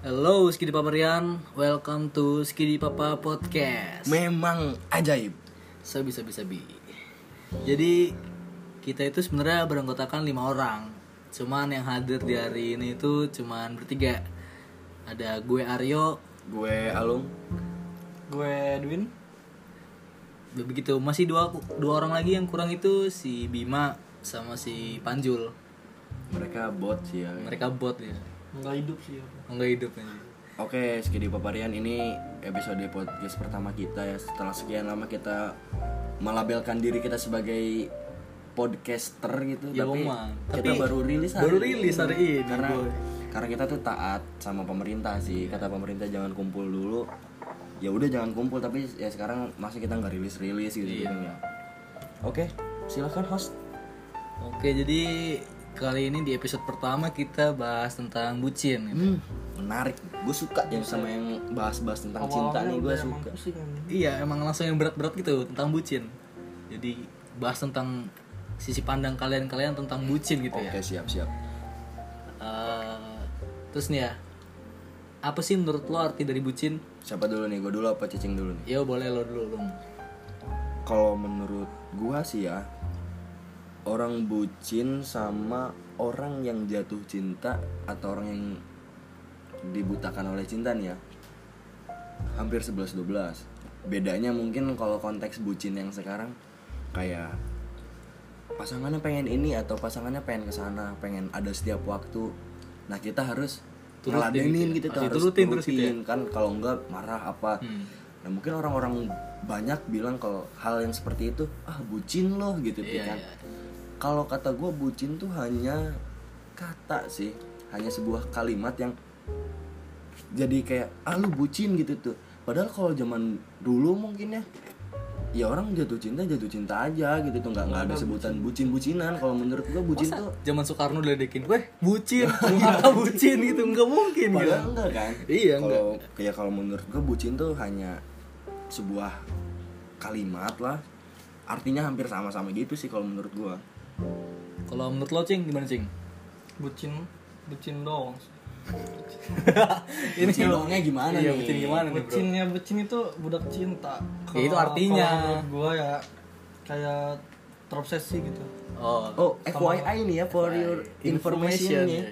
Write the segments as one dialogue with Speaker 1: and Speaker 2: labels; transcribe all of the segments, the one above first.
Speaker 1: Hello Skidi Paparian, welcome to Skidi Papa Podcast.
Speaker 2: Memang ajaib.
Speaker 1: Sabi sabi sabi. Jadi kita itu sebenarnya beranggotakan lima orang. Cuman yang hadir di hari ini itu cuman bertiga. Ada gue Aryo,
Speaker 2: Gue Alung.
Speaker 3: Gue Edwin
Speaker 1: Ya begitu masih dua dua orang lagi yang kurang itu si Bima sama si Panjul.
Speaker 2: Mereka bot sih ya.
Speaker 1: Mereka bot ya.
Speaker 3: nggak hidup sih aku.
Speaker 1: Enggak hidup anjir.
Speaker 2: Oke, Skidi Paparian ini episode podcast pertama kita ya. Setelah sekian lama kita melabelkan diri kita sebagai podcaster gitu,
Speaker 1: Ya,
Speaker 2: tapi
Speaker 1: Omang.
Speaker 2: kita
Speaker 1: Tapi
Speaker 2: baru rilis hari
Speaker 1: baru rilis hari ini,
Speaker 2: Karena
Speaker 1: Boy.
Speaker 2: karena kita tuh taat sama pemerintah sih. Kata pemerintah jangan kumpul dulu. Ya udah jangan kumpul, tapi ya sekarang masih kita nggak rilis-rilis gitu
Speaker 1: Iya.
Speaker 2: gitu ya. Oke, silahkan host.
Speaker 1: Oke, jadi kali ini di episode pertama kita bahas tentang bucin. gitu.
Speaker 2: Hmm, menarik. Gue suka yang sama yang bahas-bahas tentang cinta nih. Gue suka.
Speaker 3: Pusing kan
Speaker 1: Iya, emang langsung yang berat-berat gitu tentang bucin. Jadi bahas tentang sisi pandang kalian-kalian tentang bucin gitu ya.
Speaker 2: Oke, siap-siap.
Speaker 1: Eh, terus nih ya, apa sih menurut lo arti dari bucin?
Speaker 2: Siapa dulu nih? Gue dulu apa cacing dulu nih?
Speaker 1: Yo boleh lo dulu Lung.
Speaker 2: Kalau menurut gua sih ya, orang bucin sama orang yang jatuh cinta atau orang yang dibutakan oleh cinta nih ya. Hampir 11 12. Bedanya mungkin kalau konteks bucin yang sekarang kayak pasangannya pengen ini atau pasangannya pengen kesana pengen ada setiap waktu. Nah, kita harus
Speaker 1: Turutin
Speaker 2: ngeladenin
Speaker 1: gitu
Speaker 2: gitu,
Speaker 1: ya. Harus
Speaker 2: kita harus
Speaker 1: diturutin terus gitu ya.
Speaker 2: kan kalau enggak marah apa
Speaker 1: Hmm.
Speaker 2: nah mungkin orang-orang banyak bilang kalau hal yang seperti itu ah bucin loh gitu Pi,
Speaker 1: Iya,
Speaker 2: kan
Speaker 1: iya.
Speaker 2: kalau kata gue bucin tuh hanya kata sih hanya sebuah kalimat yang jadi kayak ah lu bucin gitu tuh padahal kalau zaman dulu mungkin ya ya orang jatuh cinta jatuh cinta aja gitu tuh nggak nggak ada sebutan bucin bucinan kalau menurut gue bucin tuh
Speaker 1: Zaman Soekarno diledekin, weh bucin, Muhammad bucin gitu, nggak mungkin gitu.
Speaker 2: Padahal enggak kan?
Speaker 1: Iya,
Speaker 2: kalau, enggak. Ya kalau menurut gue bucin tuh hanya sebuah kalimat lah. Artinya hampir sama-sama gitu sih kalau menurut gue.
Speaker 1: Kalau menurut lo Cing gimana Cing?
Speaker 3: Bucin Bucin doang
Speaker 1: Ini
Speaker 2: Bucin
Speaker 1: lo-
Speaker 2: doangnya gimana
Speaker 1: iya,
Speaker 2: nih?
Speaker 1: Bucin gimana nih bro?
Speaker 3: Bucinnya bucin itu budak cinta
Speaker 1: Ya, itu
Speaker 3: Kalau-
Speaker 1: artinya.
Speaker 3: kalau menurut Gue ya Kayak terobsesi gitu
Speaker 1: Oh,
Speaker 2: Oh, FYI nih ya for your
Speaker 1: Information,
Speaker 2: information, nih.
Speaker 1: ya.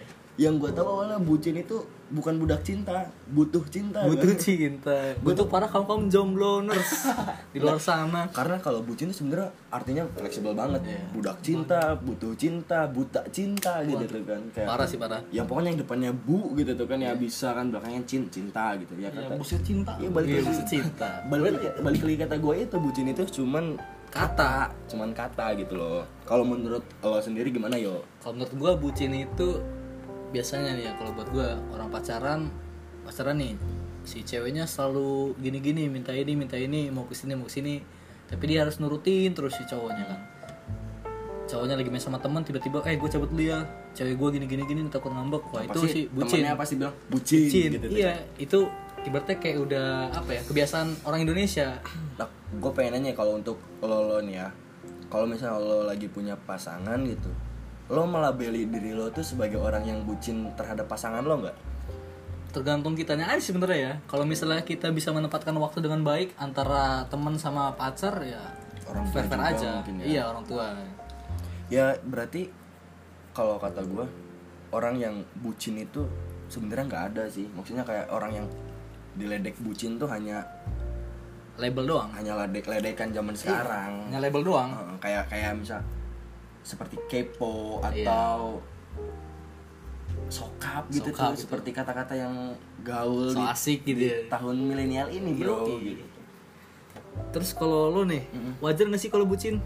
Speaker 2: Yang gue tahu awalnya bucin itu bukan budak cinta, butuh cinta.
Speaker 1: butuh
Speaker 2: kan?
Speaker 1: cinta, butuh para kaum kaum jomblo nurse di luar sana.
Speaker 2: Karena kalau bucin itu sebenarnya artinya fleksibel banget.
Speaker 1: Iya.
Speaker 2: Budak cinta, butuh cinta, buta cinta gitu tuh kan. Kayak
Speaker 1: Parah sih parah.
Speaker 2: yang pokoknya yang depannya bu gitu tuh
Speaker 1: Iya.
Speaker 2: kan ya bisa kan belakangnya cin cinta gitu ya
Speaker 3: Ya
Speaker 2: kata
Speaker 3: buset cinta
Speaker 2: Iya balik
Speaker 1: Iya,
Speaker 2: lagi
Speaker 1: buset cinta.
Speaker 2: Balik, balik lagi kata gue itu bucin itu cuman kata, cuman kata gitu loh. Kalau menurut lo sendiri gimana yo?
Speaker 1: Kalau menurut gue bucin itu biasanya nih ya kalau buat gue orang pacaran pacaran nih si ceweknya selalu gini-gini minta ini minta ini mau kesini mau kesini tapi dia harus nurutin terus si cowoknya kan cowoknya lagi main sama teman tiba-tiba eh gue cabut dulu ya cewek gue gini-gini gini takut ngambek wah Nah, itu
Speaker 2: Pasti
Speaker 1: sih bucin
Speaker 2: temennya pasti bilang bucin,
Speaker 1: bucin
Speaker 2: gitu.
Speaker 1: iya itu ibaratnya kayak udah apa ya kebiasaan orang Indonesia
Speaker 2: Nah, gue pengen nanya kalau untuk lo lo nih ya, kalau misalnya lo lagi punya pasangan gitu, lo melabeli diri lo tuh sebagai orang yang bucin terhadap pasangan lo nggak?
Speaker 1: tergantung kitanya aja sebenarnya ya kalau misalnya kita bisa menempatkan waktu dengan baik antara teman sama pacar ya
Speaker 2: Orang tua
Speaker 1: fair fair
Speaker 2: juga
Speaker 1: aja
Speaker 2: mungkin ya.
Speaker 1: iya orang tua
Speaker 2: Ya berarti kalau kata gue orang yang bucin itu sebenarnya nggak ada sih. Maksudnya kayak orang yang diledek bucin tuh hanya
Speaker 1: label doang
Speaker 2: hanya ledek-ledekan zaman sekarang.
Speaker 1: hanya label doang
Speaker 2: Heeh, kayak kayak misal seperti kepo
Speaker 1: Iya.
Speaker 2: atau sokap gitu
Speaker 1: Sokap
Speaker 2: tuh
Speaker 1: gitu.
Speaker 2: seperti kata-kata yang gaul
Speaker 1: so
Speaker 2: di
Speaker 1: asik gitu ya
Speaker 2: tahun milenial ini bro.
Speaker 1: Yoi.
Speaker 2: gitu.
Speaker 1: terus kalau lo nih wajar gak sih kalau bucin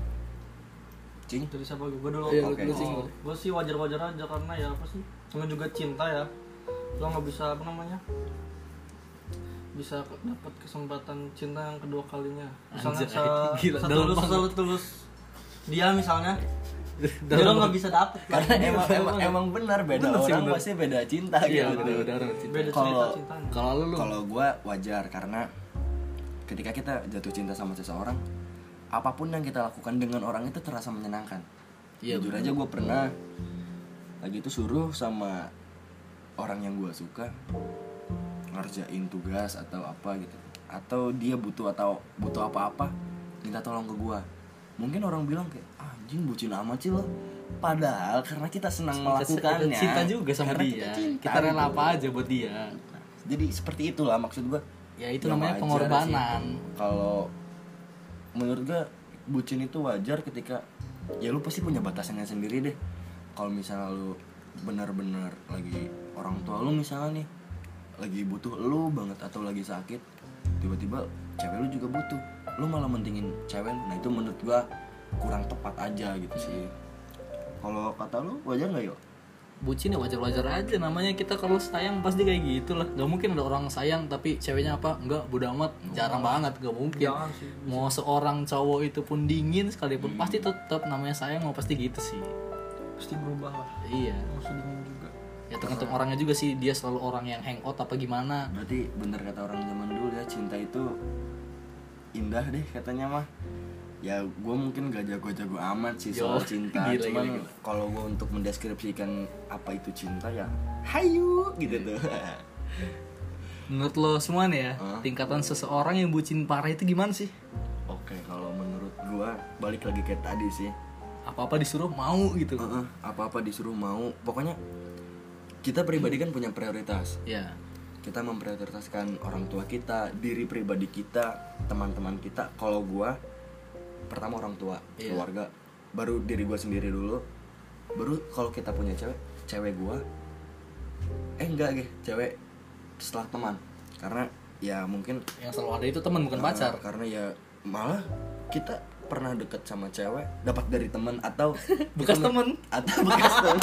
Speaker 2: Cing,
Speaker 3: Dari siapa gue dulu
Speaker 1: Iya,
Speaker 2: lu- lu
Speaker 1: sih.
Speaker 3: Gue sih wajar-wajar aja Karena ya apa sih Sama juga cinta ya Lo nggak bisa apa namanya bisa ke- dapat kesempatan cinta yang kedua kalinya misalnya
Speaker 1: Anjay,
Speaker 3: se
Speaker 1: gila, dalam
Speaker 3: setulus
Speaker 1: banget.
Speaker 3: setulus dia misalnya dia
Speaker 1: Dalam
Speaker 3: lo nggak bisa dapet kan?
Speaker 2: karena emang emang, emang benar beda
Speaker 1: iya, Bener sih,
Speaker 2: orang
Speaker 1: bener.
Speaker 2: pasti beda cinta
Speaker 1: iya
Speaker 2: gitu.
Speaker 1: udah udah udah, cinta.
Speaker 3: beda cerita
Speaker 2: Kalau-
Speaker 3: cintanya
Speaker 1: kalau lo lo
Speaker 2: Kalau gue wajar karena ketika kita jatuh cinta sama seseorang, apapun yang kita lakukan dengan orang itu terasa menyenangkan.
Speaker 1: Iya,
Speaker 2: Jujur aja gue pernah lagi itu suruh sama orang yang gue suka ngerjain tugas atau apa gitu atau dia butuh atau butuh apa-apa minta tolong ke gua mungkin orang bilang kayak anjing bucin amat sih lo padahal karena kita senang
Speaker 1: Kita
Speaker 2: melakukannya
Speaker 1: cinta juga sama
Speaker 2: karena
Speaker 1: dia.
Speaker 2: kita,
Speaker 1: Kita,
Speaker 2: cinta,
Speaker 1: rela
Speaker 2: gitu.
Speaker 1: apa aja buat dia.
Speaker 2: Nah, jadi seperti itulah maksud gua
Speaker 1: Ya itu
Speaker 2: Ya,
Speaker 1: namanya
Speaker 2: wajar
Speaker 1: pengorbanan.
Speaker 2: sih. kalau menurut gue bucin itu wajar ketika ya lu pasti punya batasannya sendiri deh kalau misalnya lu benar-benar lagi orang tua lu misalnya nih lagi butuh lu banget atau lagi sakit tiba-tiba cewek lu juga butuh lu malah mentingin cewek lu nah itu menurut gua kurang tepat aja gitu sih kalau kata lu wajar nggak yuk
Speaker 1: Bucin ya wajar-wajar aja namanya kita kalau sayang pasti kayak gitulah. Gak mungkin ada orang sayang tapi ceweknya apa? Enggak, bodo amat. Jarang banget, gak mungkin.
Speaker 3: Jangan sih.
Speaker 1: Mau seorang cowok itu pun dingin sekalipun pasti tetap namanya sayang mau pasti gitu sih.
Speaker 3: Pasti berubah lah.
Speaker 1: Iya.
Speaker 3: Mau sedingin juga.
Speaker 1: Ya tergantung orangnya juga sih dia selalu orang yang hangout apa gimana.
Speaker 2: Berarti bener kata orang zaman dulu ya cinta itu indah deh katanya mah. Ya gue mungkin gak jago-jago amat sih
Speaker 1: Yo,
Speaker 2: soal cinta.
Speaker 1: gila,
Speaker 2: Cuman
Speaker 1: gila, gila.
Speaker 2: kalau gue untuk mendeskripsikan apa itu cinta ya, hayu gitu
Speaker 1: Iya.
Speaker 2: tuh.
Speaker 1: Menurut lo semua nih ya,
Speaker 2: Hah?
Speaker 1: tingkatan seseorang yang bucin parah itu gimana sih?
Speaker 2: Oke kalau menurut gue balik lagi kayak tadi sih.
Speaker 1: Apa-apa disuruh mau gitu.
Speaker 2: Heeh, apa-apa disuruh mau. Pokoknya kita pribadi kan punya prioritas.
Speaker 1: Ya.
Speaker 2: kita memprioritaskan orang tua kita, diri pribadi kita, teman-teman kita. Kalau gua pertama orang tua,
Speaker 1: Iya.
Speaker 2: keluarga, baru diri gua sendiri dulu. Baru kalau kita punya cewek, cewek gua eh enggak deh, cewek setelah teman. Karena ya mungkin
Speaker 1: Yang selalu ada itu teman bukan
Speaker 2: karena-
Speaker 1: pacar.
Speaker 2: Karena ya malah kita pernah deket sama cewek dapat dari teman atau
Speaker 1: Bekas teman.
Speaker 2: atau bekas teman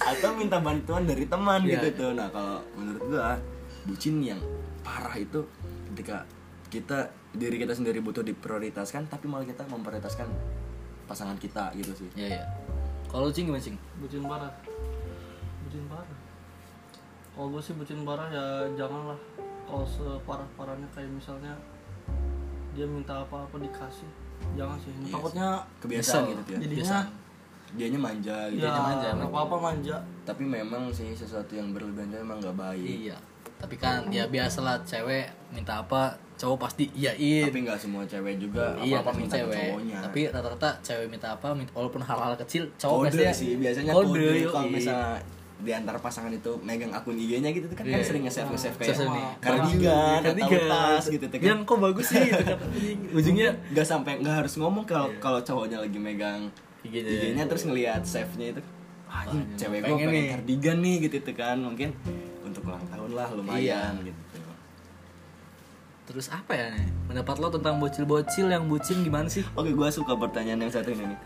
Speaker 2: atau minta bantuan dari teman
Speaker 1: Iya,
Speaker 2: gitu
Speaker 1: iya.
Speaker 2: tuh nah kalau menurut gua bucin yang parah itu ketika kita diri kita sendiri butuh diprioritaskan tapi malah kita memprioritaskan pasangan kita gitu sih
Speaker 1: Iya, iya. Kalau Cing gimana Cing?
Speaker 3: bucin parah bucin parah kalau gue sih bucin parah ya janganlah kalau separah parahnya kayak misalnya dia minta apa apa dikasih jangan sih
Speaker 2: Iya
Speaker 3: takutnya
Speaker 2: kebiasaan
Speaker 1: Nyesel. Iya.
Speaker 2: gitu ya
Speaker 3: Jadinya-
Speaker 1: Biasaan.
Speaker 2: dianya manja gitu
Speaker 3: ya
Speaker 1: manja,
Speaker 3: apa apa manja
Speaker 2: tapi memang sih sesuatu yang berlebihan itu emang nggak
Speaker 1: Iya.
Speaker 2: baik
Speaker 1: Tapi kan ya biasalah cewek minta apa cowok pasti iyain.
Speaker 2: tapi nggak semua cewek juga
Speaker 1: iya
Speaker 2: apa apa
Speaker 1: kan
Speaker 2: minta ke
Speaker 1: cewek
Speaker 2: cowoknya
Speaker 1: tapi rata-rata cewek minta apa minta, walaupun hal-hal kecil cowok
Speaker 2: kode
Speaker 1: biasanya
Speaker 2: sih biasanya kode,
Speaker 1: kode, yoi.
Speaker 2: kalau misalnya di antara pasangan itu megang akun IG-nya gitu tuh kan kan
Speaker 1: Iya.
Speaker 2: sering nge-save nge-save kayak
Speaker 1: Sosial nih. Iya.
Speaker 2: kardigan atau
Speaker 1: Kardigan.
Speaker 2: tas gitu tuh kan
Speaker 1: yang kok bagus sih gitu kan. ujungnya
Speaker 2: nggak sampai nggak harus ngomong kalau kalau cowoknya lagi megang
Speaker 1: Iya. IG-nya.
Speaker 2: IG-nya terus ngelihat save-nya itu "Ah, anjing,
Speaker 1: Wah,
Speaker 2: cewek gue
Speaker 1: pengen
Speaker 2: pengen
Speaker 1: nih."
Speaker 2: kardigan nih gitu tuh kan mungkin untuk ulang tahun lah lumayan
Speaker 1: Iya.
Speaker 2: gitu
Speaker 1: terus apa ya nih? pendapat lo tentang bocil-bocil yang bucin gimana sih
Speaker 2: Oke, gue suka pertanyaan yang satu ini nih.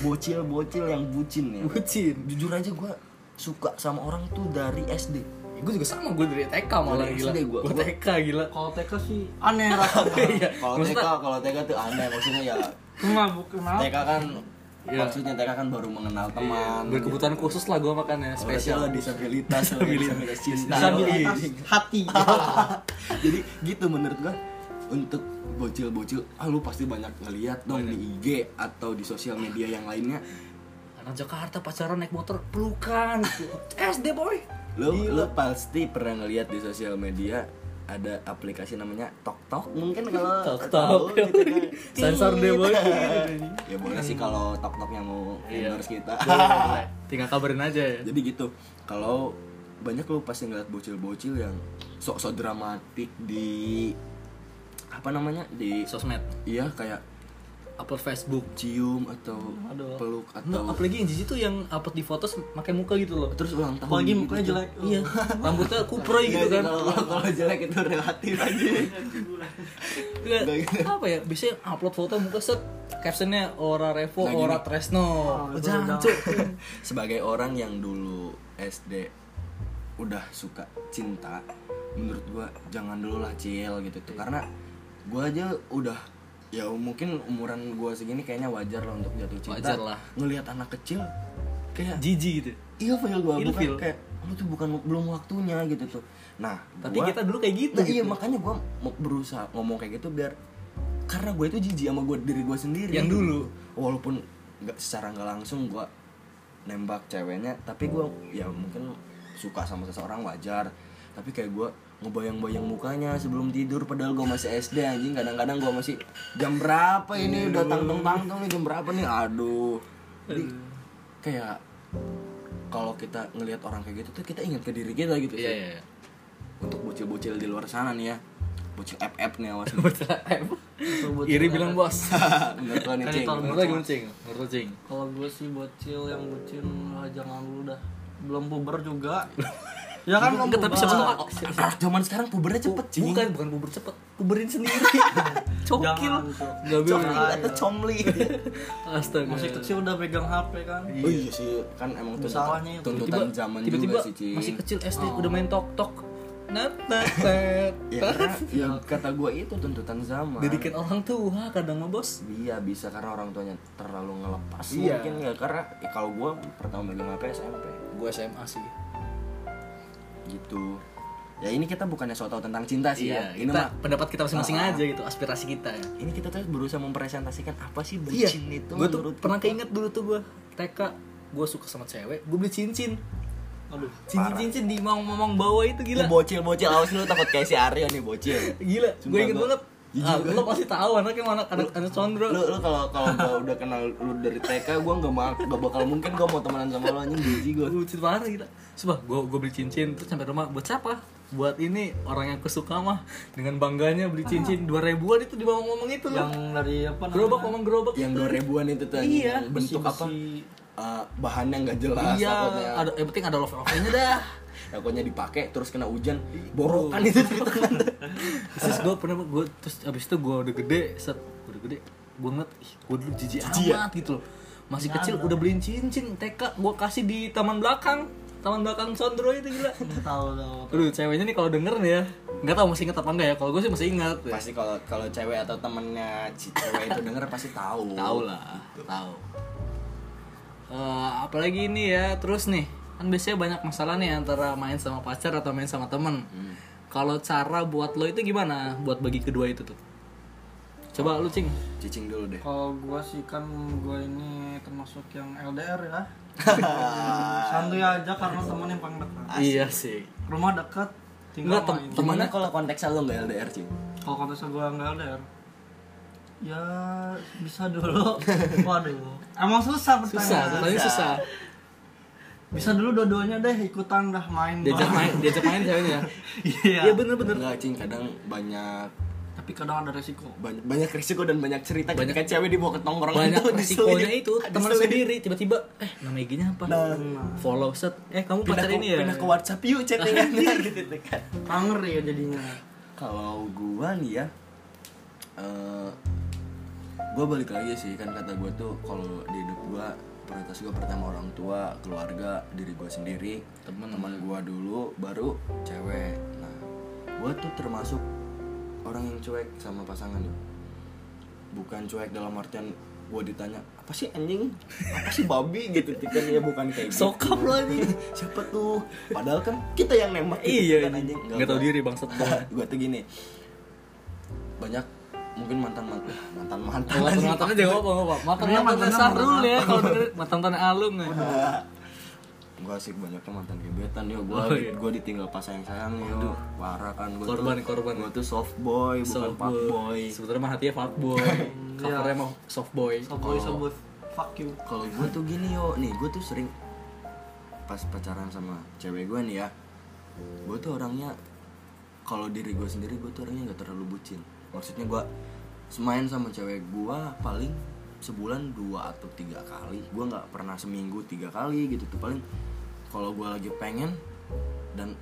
Speaker 2: Bocil-bocil yang bucin ya.
Speaker 1: Bucin.
Speaker 2: Jujur aja gue suka sama orang tuh dari SD.
Speaker 1: gue juga sama gue dari TK malah
Speaker 2: Dari
Speaker 1: gila
Speaker 2: SD gua.
Speaker 1: gue TK gila
Speaker 3: kalau TK sih aneh rasanya
Speaker 1: Iya.
Speaker 2: Kalau TK, kalau TK tuh aneh maksudnya ya.
Speaker 3: kenapa kenapa
Speaker 2: TK kan
Speaker 1: Iya.
Speaker 2: maksudnya TK kan baru mengenal teman. Oh,
Speaker 1: berkebutuhan khusus lah gue makannya
Speaker 2: spesial
Speaker 1: spesial
Speaker 2: disabilitas, lo disabilitas cinta.
Speaker 3: disabilitas
Speaker 1: Iya.
Speaker 2: Yoi.
Speaker 3: hati
Speaker 2: Jadi gitu menurut gue untuk bocil-bocil, ah lu pasti banyak ngeliat dong di IG atau di sosial media yang lainnya.
Speaker 1: anak Jakarta pacaran naik motor pelukan SD boy
Speaker 2: Lo, lo pasti pernah ngeliat di sosial media ada aplikasi namanya TokTok mungkin kalau
Speaker 1: Tok Tok.
Speaker 2: tahu gitu kan.
Speaker 1: Sensor deh, Boy.
Speaker 2: ya boleh sih kalau TokTok yang mau
Speaker 1: Iya.
Speaker 2: endorse kita
Speaker 1: tinggal kabarin aja ya
Speaker 2: jadi gitu kalau banyak lo pasti ngeliat bocil-bocil yang sok-sok dramatik di apa namanya di
Speaker 1: sosmed
Speaker 2: iya kayak
Speaker 1: upload Facebook
Speaker 2: cium atau
Speaker 3: Aduh.
Speaker 2: peluk atau
Speaker 1: Nah, apalagi yang jijik tuh yang upload di foto pakai muka gitu loh.
Speaker 2: terus ulang tahun
Speaker 3: apalagi
Speaker 2: gitu
Speaker 3: mukanya
Speaker 2: tuh.
Speaker 3: jelek
Speaker 1: Iya, rambutnya kuproy gitu kan.
Speaker 2: Iya, kalau kalau jelek itu relatif aja
Speaker 1: Iya,
Speaker 2: gitu.
Speaker 1: Apa ya? Biasanya upload foto muka set captionnya ora Revo,
Speaker 2: Nah, gini.
Speaker 1: ora Tresno.
Speaker 3: Oh,
Speaker 1: Jangan
Speaker 3: jangan.
Speaker 1: cuk.
Speaker 2: sebagai orang yang dulu SD udah suka cinta menurut gua jangan dulu lah cil gitu tuh karena gua aja udah ya mungkin umuran gua segini kayaknya wajar lah untuk jatuh cinta
Speaker 1: Wajar lah.
Speaker 2: ngelihat anak kecil kayak
Speaker 1: Jijik gitu.
Speaker 2: iya feel gua bukan
Speaker 1: Ilfil.
Speaker 2: kayak lu tuh bukan belum waktunya gitu tuh nah
Speaker 1: Tapi
Speaker 2: gua-
Speaker 1: kita dulu kayak gitu.
Speaker 2: Nah, iya
Speaker 1: gitu.
Speaker 2: makanya gue mau berusaha ngomong kayak gitu biar karena gue itu jijik sama gue diri gue sendiri gitu.
Speaker 1: Yang dulu.
Speaker 2: walaupun nggak secara nggak langsung gue nembak ceweknya tapi gue ya mungkin suka sama seseorang wajar tapi kayak gue ngebayang-bayang mukanya sebelum tidur padahal gue masih SD anjing kadang-kadang gue masih jam berapa ini udah tangtung tangtung nih jam berapa nih aduh Jadi, kayak kalau kita ngelihat orang kayak gitu tuh kita ingat ke diri kita gitu
Speaker 1: Iya
Speaker 2: sih.
Speaker 1: iya.
Speaker 2: untuk bocil-bocil di luar sana nih ya bocil FF nih awas nih.
Speaker 1: Bocil F. Iri bilang bos.
Speaker 2: menurut lo nih
Speaker 3: Kan
Speaker 2: cing
Speaker 3: itu-
Speaker 1: Menurut lo gimana cing? Menurut lo cing?
Speaker 3: Kalau gue sih bocil yang bocil lah jangan dulu dah. Belum puber juga. ya kan belum
Speaker 1: Enggak, tapi
Speaker 3: puber.
Speaker 1: siapa tahu
Speaker 2: anak Ah, zaman sekarang pubernya cepet cing
Speaker 1: oh, Bukan bukan puber cepet, puberin sendiri. Cokil.
Speaker 3: Jangan, Cok.
Speaker 1: Gak
Speaker 2: comli
Speaker 1: bilang.
Speaker 2: atau comli
Speaker 1: Astaga.
Speaker 3: masih kecil udah pegang HP kan.
Speaker 2: oh iya sih kan emang
Speaker 3: Itu
Speaker 2: tuntutan-
Speaker 3: salahnya itu.
Speaker 2: tuntutan
Speaker 1: Tiba-
Speaker 2: zaman
Speaker 1: tiba-tiba Oh.
Speaker 2: juga sih cing
Speaker 1: masih kecil SD udah main tok tok. Nah, Nat nat
Speaker 2: ya
Speaker 1: nat.
Speaker 2: karena yang kata gue itu tuntutan zaman
Speaker 1: Didikin orang tua kadang mah bos.
Speaker 2: Iya bisa karena orang tuanya terlalu ngelepas
Speaker 1: Iya.
Speaker 2: mungkin ya karena ya, kalau gue pertama megang HP SMP
Speaker 1: Gue SMA sih.
Speaker 2: gitu ya ini kita bukannya so tau tentang cinta sih
Speaker 1: Iya,
Speaker 2: ya ini
Speaker 1: kita
Speaker 2: mah
Speaker 1: pendapat kita masing-masing
Speaker 2: Ah, ah.
Speaker 1: aja gitu, aspirasi kita ya.
Speaker 2: ini kita tuh berusaha mempresentasikan apa sih
Speaker 1: Iya,
Speaker 2: bucin itu
Speaker 1: gue tuh
Speaker 2: menurut
Speaker 1: pernah
Speaker 2: kita.
Speaker 1: keinget dulu tuh gue TK gue suka sama cewek, gue beli cincin,
Speaker 3: Aduh.
Speaker 1: cincin
Speaker 2: Parah.
Speaker 1: cincin di mamang-mamang bawah itu gila,
Speaker 2: Ini bocil bocil awas lu takut kayak si Aryo nih bocil
Speaker 1: gila, gue
Speaker 2: Sumpah,
Speaker 1: inget
Speaker 2: gua-
Speaker 1: banget.
Speaker 2: Jijik
Speaker 1: Ah,
Speaker 2: gua.
Speaker 1: lo pasti tahu anaknya mana anak anak Condro.
Speaker 2: lu lu kalau kalau gua udah kenal lu dari TK gue nggak mau nggak bakal mungkin gue mau temenan sama lu anjing jijik gue
Speaker 1: Bucin parah gila. Coba gue gue beli cincin terus sampai rumah buat siapa? Buat ini orang yang kesuka mah dengan bangganya beli cincin dua ribuan itu di mamang-mamang itu
Speaker 3: Yang
Speaker 1: loh.
Speaker 3: dari apa namanya?
Speaker 1: Gerobak mamang gerobak.
Speaker 2: yang 2000an itu tuh anjing,
Speaker 1: Iya.
Speaker 2: yang bentuk apa
Speaker 3: Besi-besi.
Speaker 2: eh, bahannya nggak jelas
Speaker 1: Iya,
Speaker 2: takutnya
Speaker 1: ada, yang penting ada love love-nya dah.
Speaker 2: takutnya dipakai terus kena hujan borokan itu cerita
Speaker 1: terus gue pernah gue terus abis itu gue udah gede set gue udah gede gue ngeliat ih gue dulu jijik
Speaker 2: Jijik ya?
Speaker 1: amat gitu loh masih kecil udah beliin cincin TK gue kasih di taman belakang taman belakang Sondro itu gila
Speaker 3: Tahu tahu.
Speaker 1: Aduh ceweknya nih kalau denger nih ya nggak tahu masih inget apa enggak ya kalau gue sih masih inget ya.
Speaker 2: pasti kalau kalau cewek atau temennya si cewek itu denger pasti tahu Gitu.
Speaker 1: tahu lah tahu Eh, apalagi ini ya terus nih kan biasanya banyak masalah nih antara main sama pacar atau main sama temen
Speaker 2: Hmm.
Speaker 1: kalau cara buat lo itu gimana buat bagi kedua itu tuh coba lu cing
Speaker 2: cicing dulu deh
Speaker 3: Kalau gue sih kan gue ini termasuk yang LDR ya. Santuy aja karena temen yang paling dekat.
Speaker 1: Iya sih.
Speaker 3: Rumah dekat, tinggal
Speaker 1: Nggak, tem-
Speaker 3: main.
Speaker 1: tem-
Speaker 2: gimana kalau konteksnya lo nggak LDR sih
Speaker 3: Kalau konteksnya gue nggak LDR, ya bisa dulu. Waduh, emang susah
Speaker 1: Susah,
Speaker 3: pertanyaan.
Speaker 1: pertanyaan susah.
Speaker 3: Bisa dulu dua-duanya deh ikutan dah main.
Speaker 1: Diajak main, diajak main ceweknya. Iya
Speaker 3: Iya.
Speaker 1: bener-bener.
Speaker 2: nggak cing kadang banyak
Speaker 3: Tapi kadang ada resiko.
Speaker 2: banyak, banyak risiko dan banyak cerita
Speaker 1: Banyak-
Speaker 2: ketika cewek dibawa ke gitu, tongkrongan
Speaker 1: Banyak
Speaker 2: itu,
Speaker 1: resikonya
Speaker 2: diselidip.
Speaker 1: itu ah, teman
Speaker 2: Diselidip.
Speaker 1: sendiri tiba-tiba eh nama IG-nya apa? Follow set. Nah. Eh kamu
Speaker 2: Nah, pindah
Speaker 1: pacar
Speaker 2: ke,
Speaker 1: ini ya?
Speaker 2: pindah ke WhatsApp yuk chattingannya gitu kan
Speaker 3: Anger ya jadinya.
Speaker 2: kalau gua nih ya eh gua balik lagi sih kan kata gua tuh kalau di hidup gua prioritas gua pertama orang tua keluarga diri gua sendiri teman teman gua dulu baru cewek nah gua tuh termasuk orang yang cuek sama pasangan ya bukan cuek dalam artian gua ditanya apa sih anjing apa sih babi gitu kan ya bukan kayak gitu
Speaker 1: Sokap lo anjing.
Speaker 2: siapa tuh padahal kan kita yang nembak gitu
Speaker 1: Iya
Speaker 2: kan,
Speaker 1: anjing.
Speaker 2: Nggak
Speaker 1: Enggak tahu
Speaker 2: gua-
Speaker 1: diri bangsat.
Speaker 2: gue tuh gini banyak mungkin mantan mantan mantan mantan
Speaker 1: Mantan-mantannya jangan apa apa.
Speaker 3: Iya,
Speaker 1: Mantan-mantan
Speaker 3: mantannya
Speaker 1: Sarul
Speaker 3: mantan
Speaker 1: ya kalau denger mantan-mantan Alung ya.
Speaker 2: gue sih banyaknya mantan gebetan yo gue
Speaker 1: Oh, iya.
Speaker 2: gue ditinggal pas sayang sayang yo parah kan gue
Speaker 1: Korban,
Speaker 2: tuh,
Speaker 1: korban.
Speaker 2: gue tuh soft boy bukan
Speaker 1: Soft
Speaker 2: fuck boy
Speaker 1: Sebenarnya mah hatinya fuckboy. Covernya mah soft boy.
Speaker 3: Soboy sebut fuck you.
Speaker 2: kalau gue tuh gini yo nih gue tuh sering pas pacaran sama cewek gue nih ya gue tuh orangnya kalau diri gue sendiri gue tuh orangnya nggak terlalu bucin maksudnya gue semain sama cewek gue paling sebulan dua atau tiga kali gue nggak pernah seminggu tiga kali gitu tuh paling kalau gue lagi pengen dan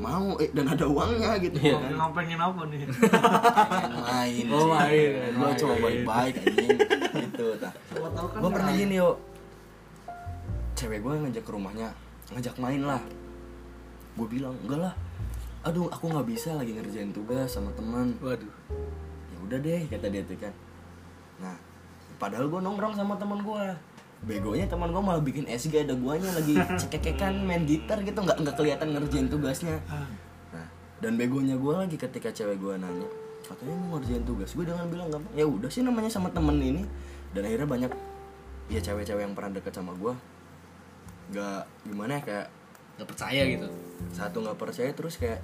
Speaker 2: mau eh dan ada uangnya gitu
Speaker 1: Iya.
Speaker 2: kan
Speaker 3: Emang pengen apa nih?
Speaker 2: pengen main
Speaker 1: Oh, main,
Speaker 2: gue
Speaker 1: main.
Speaker 2: coba baik-baik anjing gitu tah
Speaker 3: Siapa tahu kan
Speaker 2: gue pernah
Speaker 3: ya.
Speaker 2: gini yo cewek gue ngajak ke rumahnya ngajak main lah gue bilang enggak lah aduh aku nggak bisa lagi ngerjain tugas sama teman
Speaker 1: Waduh.
Speaker 2: ya udah deh kata dia tuh kan nah padahal gue nongkrong sama teman gue begonya teman gue malah bikin SG ada guanya lagi cekekekan main gitar gitu nggak nggak kelihatan ngerjain tugasnya nah dan begonya gue lagi ketika cewek gue nanya katanya mau ngerjain tugas gue dengan bilang gampang ya udah sih namanya sama temen ini dan akhirnya banyak ya cewek-cewek yang pernah dekat sama gue nggak gimana ya kayak
Speaker 1: Gak percaya gitu.
Speaker 2: satu nggak percaya terus kayak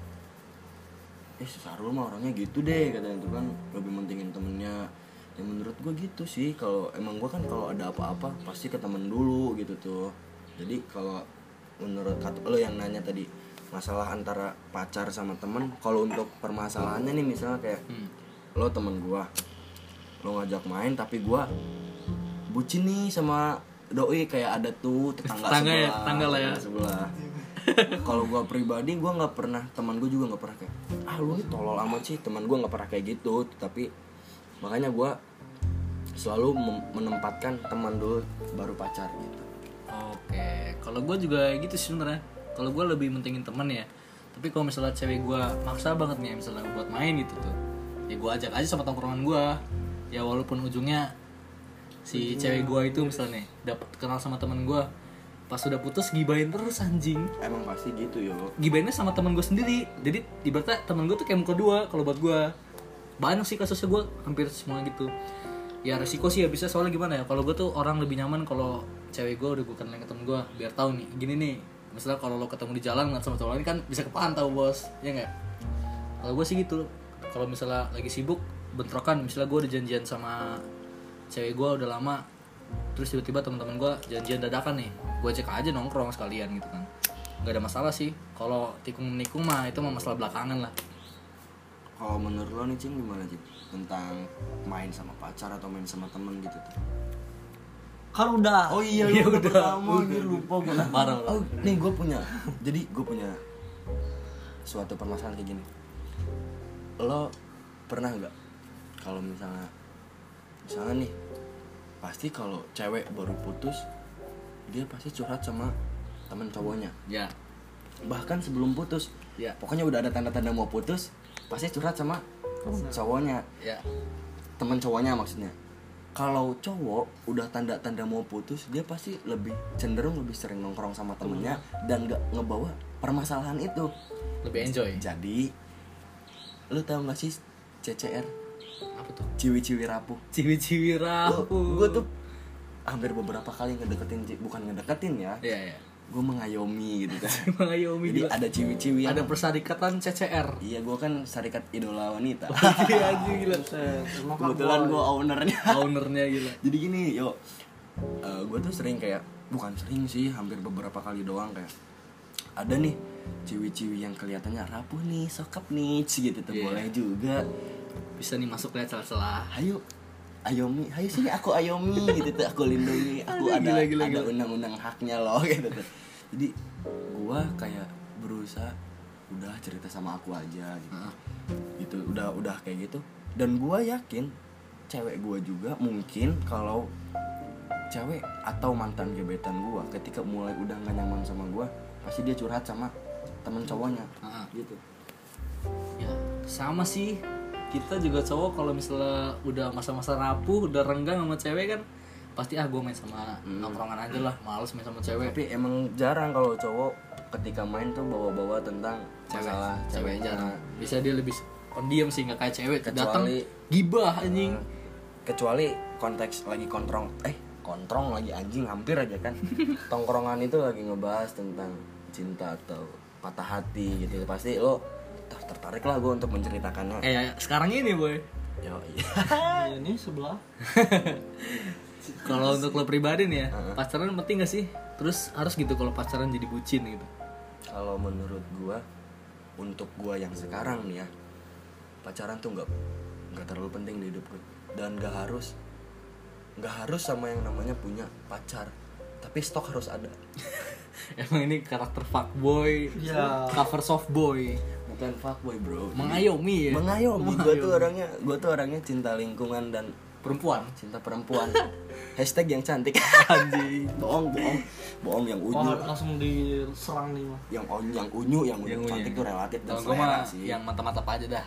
Speaker 2: eh si Sarul mah orangnya gitu deh katanya itu kan lebih mentingin temennya ya menurut gue gitu sih kalau emang gue kan kalau ada apa-apa pasti ke temen dulu gitu tuh jadi kalau menurut kata lo yang nanya tadi masalah antara pacar sama temen kalau untuk permasalahannya nih misalnya kayak
Speaker 1: Hmm.
Speaker 2: lo temen gua lo ngajak main tapi gua bucin nih sama doi kayak ada tuh tetangga
Speaker 1: Tetangga ya,
Speaker 2: sebelah
Speaker 1: tetangga lah ya.
Speaker 2: sebelah kalau gua pribadi gua nggak pernah teman gua juga nggak pernah kayak ah lu nih tolol amat sih teman gua nggak pernah kayak gitu tapi makanya gua selalu mem- menempatkan teman dulu baru pacar gitu
Speaker 1: Oke, kalau gue juga gitu sih sebenarnya. Kalau gue lebih mentingin temen ya. Tapi kalau misalnya cewek gue maksa banget nih, misalnya buat main gitu tuh, ya gue ajak aja sama tongkrongan gue. Ya walaupun ujungnya si cewek gue itu misalnya dapat kenal sama temen gue, pas sudah putus gibain terus anjing.
Speaker 2: emang pasti gitu yo
Speaker 1: Gibainnya sama temen gue sendiri. Jadi ibaratnya temen gue tuh kayak muka dua kalau buat gue. Banyak sih kasusnya gue hampir semua gitu. Ya resiko sih ya bisa soalnya gimana ya. Kalau gue tuh orang lebih nyaman kalau cewek gue udah gue kenalin ke temen gue biar tahu nih gini nih. Misalnya kalau lo ketemu di jalan ngeliat sama cowok lain kan bisa kepantau bos, ya nggak? Kalau gue sih gitu. Kalau misalnya lagi sibuk bentrokan, misalnya gue udah janjian sama cewek gue udah lama, terus tiba-tiba teman-teman gue janjian dadakan nih, gue cek aja nongkrong sekalian gitu kan. Gak ada masalah sih. Kalau tikung menikung mah itu mah masalah belakangan lah.
Speaker 2: kalau menurut lo nih cing gimana cing tentang main sama pacar atau main sama temen gitu tuh
Speaker 3: kan udah
Speaker 2: Oh iya,
Speaker 1: Iya,
Speaker 2: lu udah
Speaker 1: udah.
Speaker 2: pertama anjir, lupa gue.
Speaker 1: Parah, parah.
Speaker 2: Oh, nih gue punya. Jadi gue punya suatu permasalahan kayak gini. Lo pernah nggak kalau misalnya misalnya nih pasti kalau cewek baru putus dia pasti curhat sama temen cowoknya
Speaker 1: Ya.
Speaker 2: bahkan sebelum putus
Speaker 1: Ya.
Speaker 2: pokoknya udah ada tanda-tanda mau putus pasti curhat sama cowoknya
Speaker 1: Ya.
Speaker 2: teman cowoknya maksudnya kalau cowok udah tanda-tanda mau putus dia pasti lebih cenderung lebih sering nongkrong sama temennya dan gak ngebawa permasalahan itu
Speaker 1: Lebih enjoy.
Speaker 2: jadi lu tahu gak sih CCR
Speaker 1: Apa tuh?
Speaker 2: ciwi-ciwi rapuh
Speaker 1: Ciwi-ciwi rapuh.
Speaker 2: gue tuh hampir beberapa kali ngedeketin ci- bukan ngedeketin ya
Speaker 1: Iya, iya.
Speaker 2: gue mengayomi gitu kan
Speaker 1: Mengayomi
Speaker 2: jadi
Speaker 1: gila.
Speaker 2: ada ciwi-ciwi yang
Speaker 1: Ada persarikatan CCR.
Speaker 2: iya gue kan serikat idola wanita
Speaker 1: Iya, anjing gila.
Speaker 3: kan
Speaker 2: kebetulan gue ownernya
Speaker 1: Ownernya gila.
Speaker 2: jadi gini yo gue tuh sering kayak bukan sering sih hampir beberapa kali doang kayak ada nih ciwi-ciwi yang kelihatannya rapuh nih sokap nih ci gitu tuh
Speaker 1: Iya.
Speaker 2: boleh juga
Speaker 1: Bisa nih masuk lihat celah-celah.
Speaker 2: ayo ayomi ayo sini aku ayomi gitu tuh aku lindungi aku
Speaker 1: Aduh,
Speaker 2: ada
Speaker 1: gila, gila,
Speaker 2: ada
Speaker 1: gila.
Speaker 2: undang-undang haknya loh gitu tuh jadi gue kayak berusaha udah cerita sama aku aja gitu
Speaker 1: Heeh.
Speaker 2: gitu udah udah kayak gitu dan gua yakin cewek gua juga mungkin kalau cewek atau mantan gebetan gua ketika mulai udah gak nyaman sama gua pasti dia curhat sama temen cowoknya
Speaker 1: Heeh.
Speaker 2: gitu
Speaker 1: Ya, sama sih. Kita juga cowok kalau misalnya udah masa-masa rapuh, udah renggang sama cewek kan pasti ah gue main sama nongkrongan aja lah, males main sama cewek.
Speaker 2: tapi emang jarang kalau cowok ketika main tuh bawa-bawa tentang masalah Nah,
Speaker 1: cewek
Speaker 2: ceweknya
Speaker 1: jarang. Bisa dia lebih pendiam sih nggak kayak cewek datang
Speaker 2: Kecuali- Hmm.
Speaker 1: gibah anjing.
Speaker 2: kecuali konteks lagi kontrong eh kontrong lagi anjing hampir aja kan tongkrongan itu lagi ngebahas tentang cinta atau patah hati gitu pasti lo "Tah, tertarik lah gue untuk menceritakannya
Speaker 1: Kayak sekarang ini, boy.
Speaker 2: yo iya
Speaker 3: Iya ini sebelah
Speaker 1: Kalau untuk lo pribadi nih ya, pacaran penting gak sih? Terus harus gitu kalau pacaran jadi bucin gitu.
Speaker 2: kalau menurut gua untuk gua yang sekarang nih ya pacaran tuh nggak nggak terlalu penting di hidup gue dan nggak harus nggak harus sama yang namanya punya pacar tapi stok harus ada
Speaker 1: Emang ini karakter fuckboy,
Speaker 3: Iya.
Speaker 1: cover soft boy,
Speaker 2: bukan fuckboy bro
Speaker 1: mengayomi ya.
Speaker 2: mengayomi gue tuh orangnya gue tuh orangnya cinta lingkungan dan
Speaker 1: Perempuan.
Speaker 2: cinta perempuan hashtag yang cantik
Speaker 1: Anjing.
Speaker 2: bohong bohong bohong yang unyu
Speaker 3: oh, langsung diserang nih mah
Speaker 2: yang unyu yang unyu yang,
Speaker 1: Yang
Speaker 2: unyu cantik
Speaker 1: punya.
Speaker 2: tuh relatif dan
Speaker 1: Kalau gue
Speaker 2: selera
Speaker 1: mah
Speaker 2: sih
Speaker 1: yang mantap-mantap aja dah.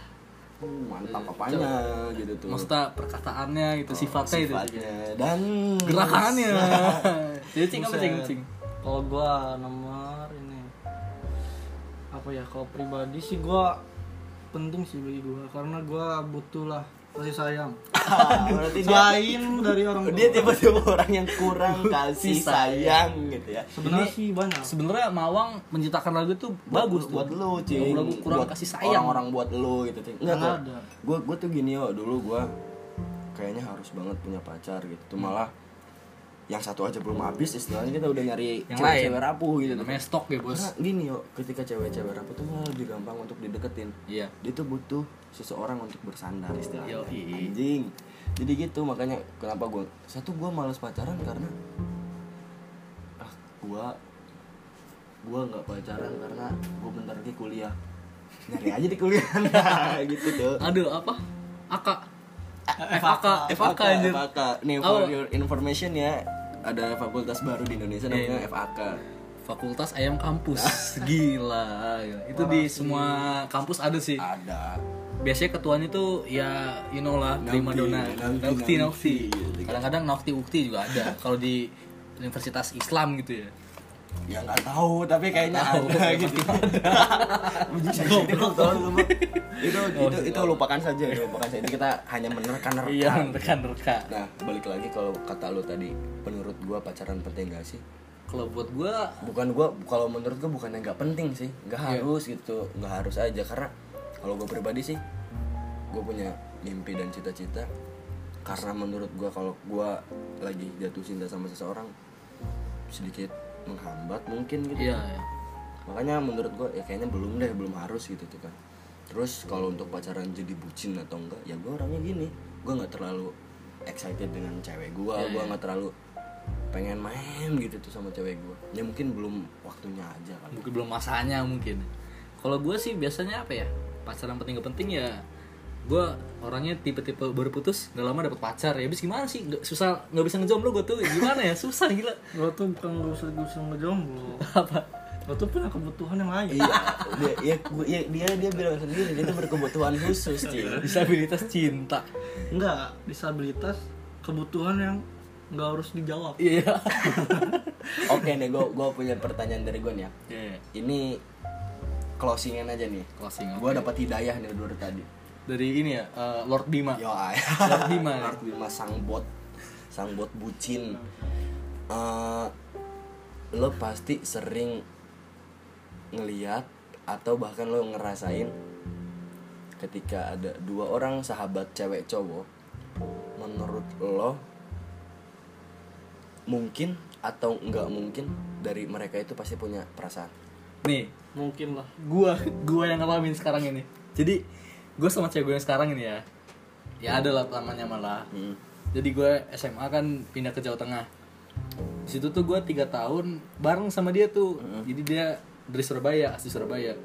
Speaker 2: Hmm, mantap apanya gitu tuh
Speaker 1: Maksudnya perkataannya itu sifatnya itu.
Speaker 2: Oh, sifatnya dan
Speaker 1: Gerakannya. Jadi cing apa cing
Speaker 3: Buset.
Speaker 1: cing?
Speaker 3: Kalau gua nomor ini apa ya? Kalau pribadi sih gua penting sih bagi gua karena gua butuh lah kasih sayang
Speaker 2: Ah, berarti dia,
Speaker 3: selain dari orang tua
Speaker 2: dia tiba-tiba orang yang kurang
Speaker 1: Si
Speaker 2: kasih
Speaker 1: sayang.
Speaker 2: sayang gitu ya
Speaker 3: sebenarnya
Speaker 1: Ini-
Speaker 3: sih banyak
Speaker 1: Sebenarnya Mawang menciptakan lagu itu bagus
Speaker 2: bagus buat
Speaker 1: tuh.
Speaker 2: lu cing
Speaker 1: Lagu kurang
Speaker 2: Buat
Speaker 1: kasih sayang.
Speaker 2: orang-orang buat lu gitu cing enggak
Speaker 3: Nggak
Speaker 2: kok
Speaker 3: ada.
Speaker 2: gue gue tuh gini yo dulu gue kayaknya harus banget punya pacar gitu
Speaker 1: Hmm.
Speaker 2: malah yang satu aja belum habis istilahnya kita udah nyari
Speaker 1: Yang
Speaker 2: cewek-cewek
Speaker 1: lain.
Speaker 2: rapuh gitu
Speaker 1: Namanya stok ya
Speaker 2: Karena
Speaker 1: bos.
Speaker 2: gini yo ketika cewek-cewek rapuh tuh malah lebih gampang untuk dideketin
Speaker 1: Iya.
Speaker 2: dia tuh butuh seseorang untuk bersandar istilahnya
Speaker 1: Yoi.
Speaker 2: anjing jadi gitu makanya kenapa gue satu gue males pacaran karena ah gue gue nggak pacaran karena gue bentar lagi kuliah nyari aja di kuliah gitu tuh
Speaker 1: Aduh apa? Aka.
Speaker 2: Eh,
Speaker 1: FAK, FAK
Speaker 2: FAK
Speaker 1: anjir. Oh.
Speaker 2: FAK nih for
Speaker 1: Apa?
Speaker 2: your information ya ada fakultas baru di Indonesia namanya
Speaker 1: Iya.
Speaker 2: FAK
Speaker 1: Fakultas Ayam Kampus. Gila. gila. Itu di semua kampus ada sih.
Speaker 2: ada
Speaker 1: Biasanya ketuanya tuh ya you know lah,
Speaker 2: Nokti,
Speaker 1: prima donna.
Speaker 2: nokti,
Speaker 1: Nokti nokti.
Speaker 2: nokti.
Speaker 1: Kadang-kadang nokti ukti juga ada kalau di Universitas Islam gitu ya.
Speaker 2: ya nggak tahu tapi kayaknya
Speaker 1: Tahu, Oh,
Speaker 2: ada gitu Bunyi sensitif tau lu, Mak. itu itu itu lupakan saja lupakan saja kita hanya menerka
Speaker 1: Iya,
Speaker 2: nerka
Speaker 1: rekan-rekan.
Speaker 2: nah balik lagi kalau kata lu tadi menurut gua pacaran penting gak sih
Speaker 1: Kalau buat gua
Speaker 2: bukan gua kalau menurut gua bukan yang nggak penting sih nggak harus gitu nggak harus aja karena kalau gua pribadi sih gua punya mimpi dan cita-cita karena menurut gua kalau gua lagi jatuh cinta sama seseorang sedikit menghambat mungkin gitu
Speaker 1: iya ya.
Speaker 2: makanya menurut gue ya kayaknya belum deh belum harus gitu tuh kan terus kalau untuk pacaran jadi bucin atau enggak ya gue orangnya gini gue nggak terlalu excited dengan cewek gue
Speaker 1: Ya,
Speaker 2: gue
Speaker 1: ya.
Speaker 2: nggak terlalu pengen main gitu tuh sama cewek gue ya mungkin belum waktunya aja kali
Speaker 1: mungkin belum masanya mungkin kalau gue sih biasanya apa ya pacaran penting gak penting ya gue orangnya tipe-tipe baru putus gak lama dapet pacar ya habis gimana sih Nggak- susah nggak bisa ngejomblo gue tuh gimana ya susah gila
Speaker 3: lo tuh bukan lo usah gue usah ngejomblo
Speaker 1: apa
Speaker 3: lo tuh punya kebutuhan yang lain
Speaker 2: iya dia, ya, gua- ya, dia dia bilang sendiri dia tuh berkebutuhan khusus sih
Speaker 1: disabilitas cinta
Speaker 3: enggak disabilitas kebutuhan yang nggak harus dijawab
Speaker 1: iya
Speaker 2: oke nih gue gue punya pertanyaan dari gue nih ya
Speaker 1: Iya,
Speaker 2: ini closingan aja nih
Speaker 1: closing
Speaker 2: gue
Speaker 1: oke.
Speaker 2: dapat hidayah nih dari tadi
Speaker 1: dari ini ya eh, Lord Bima
Speaker 2: Yo, ay.
Speaker 1: Lord Bima ya.
Speaker 2: Lord Bima sang bot, sang bot bucin. Eh, lo pasti sering ngeliat atau bahkan lo ngerasain ketika ada dua orang sahabat cewek cowok menurut lo mungkin atau nggak mungkin dari mereka itu pasti punya perasaan
Speaker 1: nih
Speaker 3: mungkin lah
Speaker 1: gua gua yang ngalamin sekarang ini jadi gua sama cewek gue yang sekarang ini ya ya ada lah namanya malah jadi gue SMA kan pindah ke Jawa Tengah di situ tuh gue tiga tahun bareng sama dia tuh jadi dia dari Surabaya asli Surabaya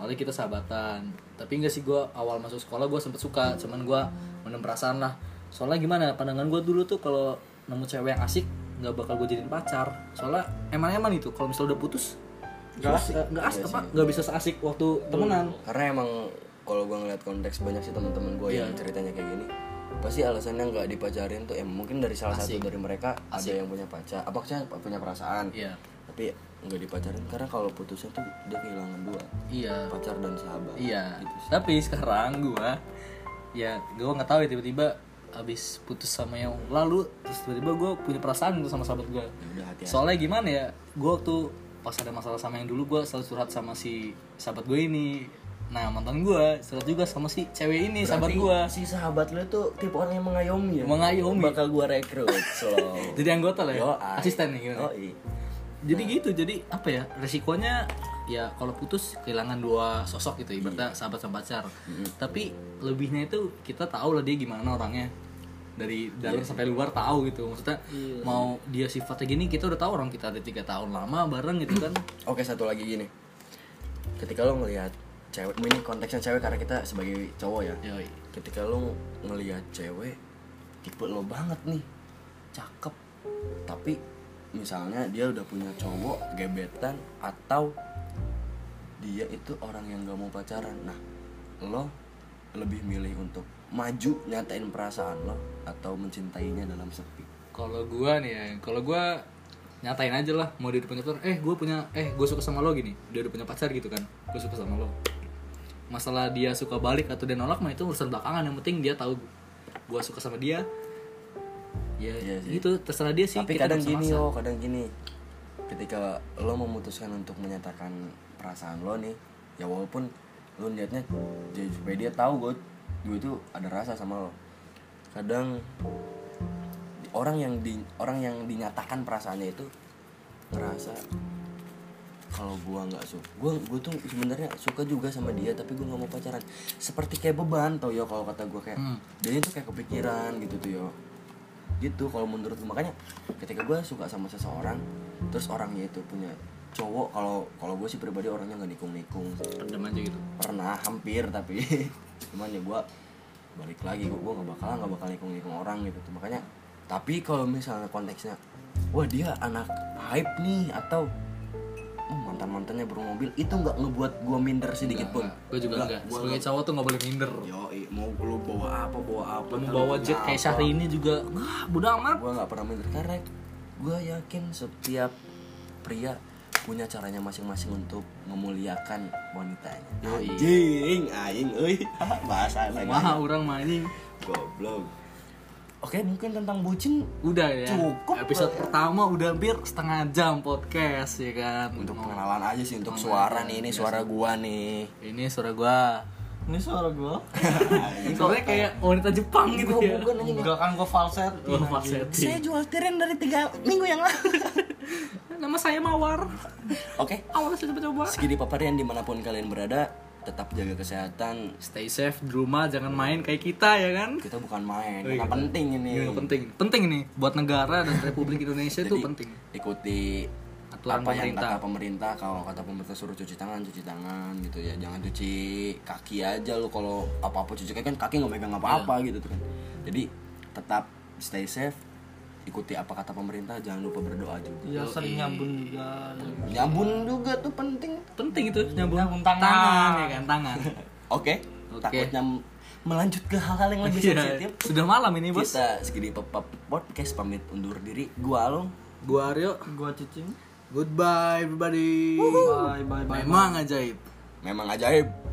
Speaker 1: Awalnya kita sahabatan tapi enggak sih gue awal masuk sekolah gue sempet suka cuman gue menem perasaan lah soalnya gimana pandangan gue dulu tuh kalau nemu cewek yang asik nggak bakal gue jadiin pacar soalnya emang-emang itu kalau misalnya udah putus nggak asik Iya nggak asik apa nggak bisa seasik waktu temenan
Speaker 2: karena emang kalau gue ngeliat konteks banyak sih teman-teman gue
Speaker 1: Iya.
Speaker 2: yang ceritanya kayak gini pasti alasannya nggak dipacarin tuh ya mungkin dari salah satu dari mereka ada yang punya pacar apa maksudnya punya perasaan
Speaker 1: iya
Speaker 2: tapi nggak dipacarin karena kalau putusnya tuh dia kehilangan dua
Speaker 1: iya
Speaker 2: pacar dan sahabat
Speaker 1: Iya.
Speaker 2: Gitu sih.
Speaker 1: Tapi sekarang gua ya gua nggak tahu ya tiba-tiba habis putus sama yang lalu terus tiba-tiba gua punya perasaan gitu sama sahabat gua.
Speaker 2: Ya udah hati-hati
Speaker 1: Soalnya gimana ya? Gua waktu pas ada masalah sama yang dulu gua selalu curhat sama si sahabat gue ini. Nah, mantan gua curhat juga sama si cewek ini sahabat
Speaker 2: Berarti
Speaker 1: gua.
Speaker 2: si sahabat lu tuh tipe orang yang mengayomi ya
Speaker 1: Mengayomi.
Speaker 2: bakal gue rekrut so
Speaker 1: Jadi anggota lah ya.
Speaker 2: Yoi.
Speaker 1: Asisten nih gitu.
Speaker 2: Yoi.
Speaker 1: jadi gitu jadi apa ya resikonya ya kalau putus kehilangan dua sosok gitu ibaratnya sahabat sama pacar tapi lebihnya itu kita tahu lah dia gimana orangnya dari dalam sampai luar tahu gitu maksudnya mau dia sifatnya gini kita udah tahu orang kita ada tiga tahun lama bareng gitu kan
Speaker 2: Oke satu lagi gini Ketika lo ngelihat cewek Ini konteksnya cewek karena kita sebagai cowok ya
Speaker 1: Yoi.
Speaker 2: Ketika lo ngelihat cewek Tipe lo banget nih Cakep Tapi misalnya dia udah punya cowok Gebetan atau Dia itu orang yang gak mau pacaran Nah lo lebih milih untuk maju nyatain perasaan lo atau mencintainya dalam sepi
Speaker 1: kalau gua nih ya kalau gua nyatain aja lah mau dia udah punya pacar eh gua punya eh gue suka sama lo gini dia udah punya pacar gitu kan gue suka sama lo masalah dia suka balik atau dia nolak mah itu urusan belakangan yang penting dia tahu gua suka sama dia ya
Speaker 2: Iya sih.
Speaker 1: itu terserah dia sih
Speaker 2: tapi
Speaker 1: kita
Speaker 2: kadang
Speaker 1: nggak usah
Speaker 2: gini
Speaker 1: maksa.
Speaker 2: oh. yo kadang gini ketika lo memutuskan untuk menyatakan perasaan lo nih ya walaupun lo niatnya jadi supaya dia tahu gue gue itu ada rasa sama lo kadang orang yang di orang yang dinyatakan perasaannya itu ngerasa kalau gua nggak suka gua gua tuh sebenarnya suka juga sama dia tapi gua nggak mau pacaran seperti kayak beban tau yo kalau kata gua kayak
Speaker 1: Hmm.
Speaker 2: dia itu kayak kepikiran gitu tuh yo gitu kalau menurut gua. makanya ketika gua suka sama seseorang terus orangnya itu punya cowok kalau kalau gue sih pribadi orangnya nggak nikung-nikung
Speaker 1: Pendem aja gitu
Speaker 2: pernah hampir tapi cuman ya gue balik lagi gue gue nggak bakal nggak bakal nikung nikung orang gitu tuh makanya tapi kalau misalnya konteksnya wah dia anak hype nih atau mantan mantannya baru mobil itu nggak ngebuat gue minder sedikit pun
Speaker 1: gue juga enggak,
Speaker 2: Gua Iya.
Speaker 1: sebagai cowok tuh nggak boleh minder
Speaker 4: Yo, mau lu bawa apa bawa apa?
Speaker 1: Lu mau bawa jet kayak Syahrini juga ah bodo amat
Speaker 2: gue nggak pernah minder karena gue yakin setiap pria punya caranya masing-masing untuk memuliakan wanitanya
Speaker 4: Anjing, aing, euy. Bahasa
Speaker 1: Wah, orang mah anjing.
Speaker 4: Goblok.
Speaker 2: oke mungkin tentang bucin
Speaker 1: Udah ya.
Speaker 2: Cukup
Speaker 1: Episode pertama udah hampir setengah jam podcast ya kan.
Speaker 2: untuk pengenalan aja sih untuk suara nih ini suara gua nih
Speaker 1: Ini suara gua.
Speaker 3: Ini suara gua.
Speaker 1: Ini Suaranya kayak wanita Jepang gitu ya.
Speaker 3: Enggak kan gua falset.
Speaker 1: Oh,
Speaker 3: Iya.
Speaker 1: falsetting.
Speaker 2: jual tiren dari tiga minggu yang lalu
Speaker 1: Nama saya Mawar.
Speaker 2: oke
Speaker 1: Awalnya saya coba-coba.
Speaker 2: segini paparian dimanapun kalian berada tetap jaga kesehatan
Speaker 1: Stay safe di rumah, jangan main kayak kita ya kan.
Speaker 2: kita bukan main
Speaker 1: Oh, iya.
Speaker 2: karena penting ini
Speaker 1: Ini penting. Penting nih buat negara dan Republik Indonesia itu
Speaker 2: Jadi,
Speaker 1: penting.
Speaker 2: ikuti
Speaker 1: Aturan
Speaker 2: apa yang
Speaker 1: pemerintah.
Speaker 2: kata pemerintah kalau kata pemerintah suruh cuci tangan cuci tangan gitu ya jangan cuci kaki aja lu kalau apa apa cuci kaki kan kaki nggak megang apa apa
Speaker 1: Iya.
Speaker 2: gitu tuh kan jadi tetap stay safe ikuti apa kata pemerintah jangan lupa berdoa juga
Speaker 3: Iya sering nyambung juga.
Speaker 2: nyambun juga tuh penting
Speaker 1: Penting itu nyambung,
Speaker 3: Nyambung tangan.
Speaker 1: ya kan, tangan.
Speaker 2: Oke.
Speaker 1: Oke.
Speaker 2: Takutnya m- melanjut ke hal-hal yang lebih
Speaker 1: Iya,
Speaker 2: sensitif.
Speaker 1: Sudah malam ini, Bos.
Speaker 2: Kita segini pop podcast pamit undur diri. Gua Alung.
Speaker 1: Gua Aryo.
Speaker 3: Gua cicing.
Speaker 1: Goodbye everybody.
Speaker 3: Bye bye bye.
Speaker 1: Memang ajaib.
Speaker 2: Memang ajaib.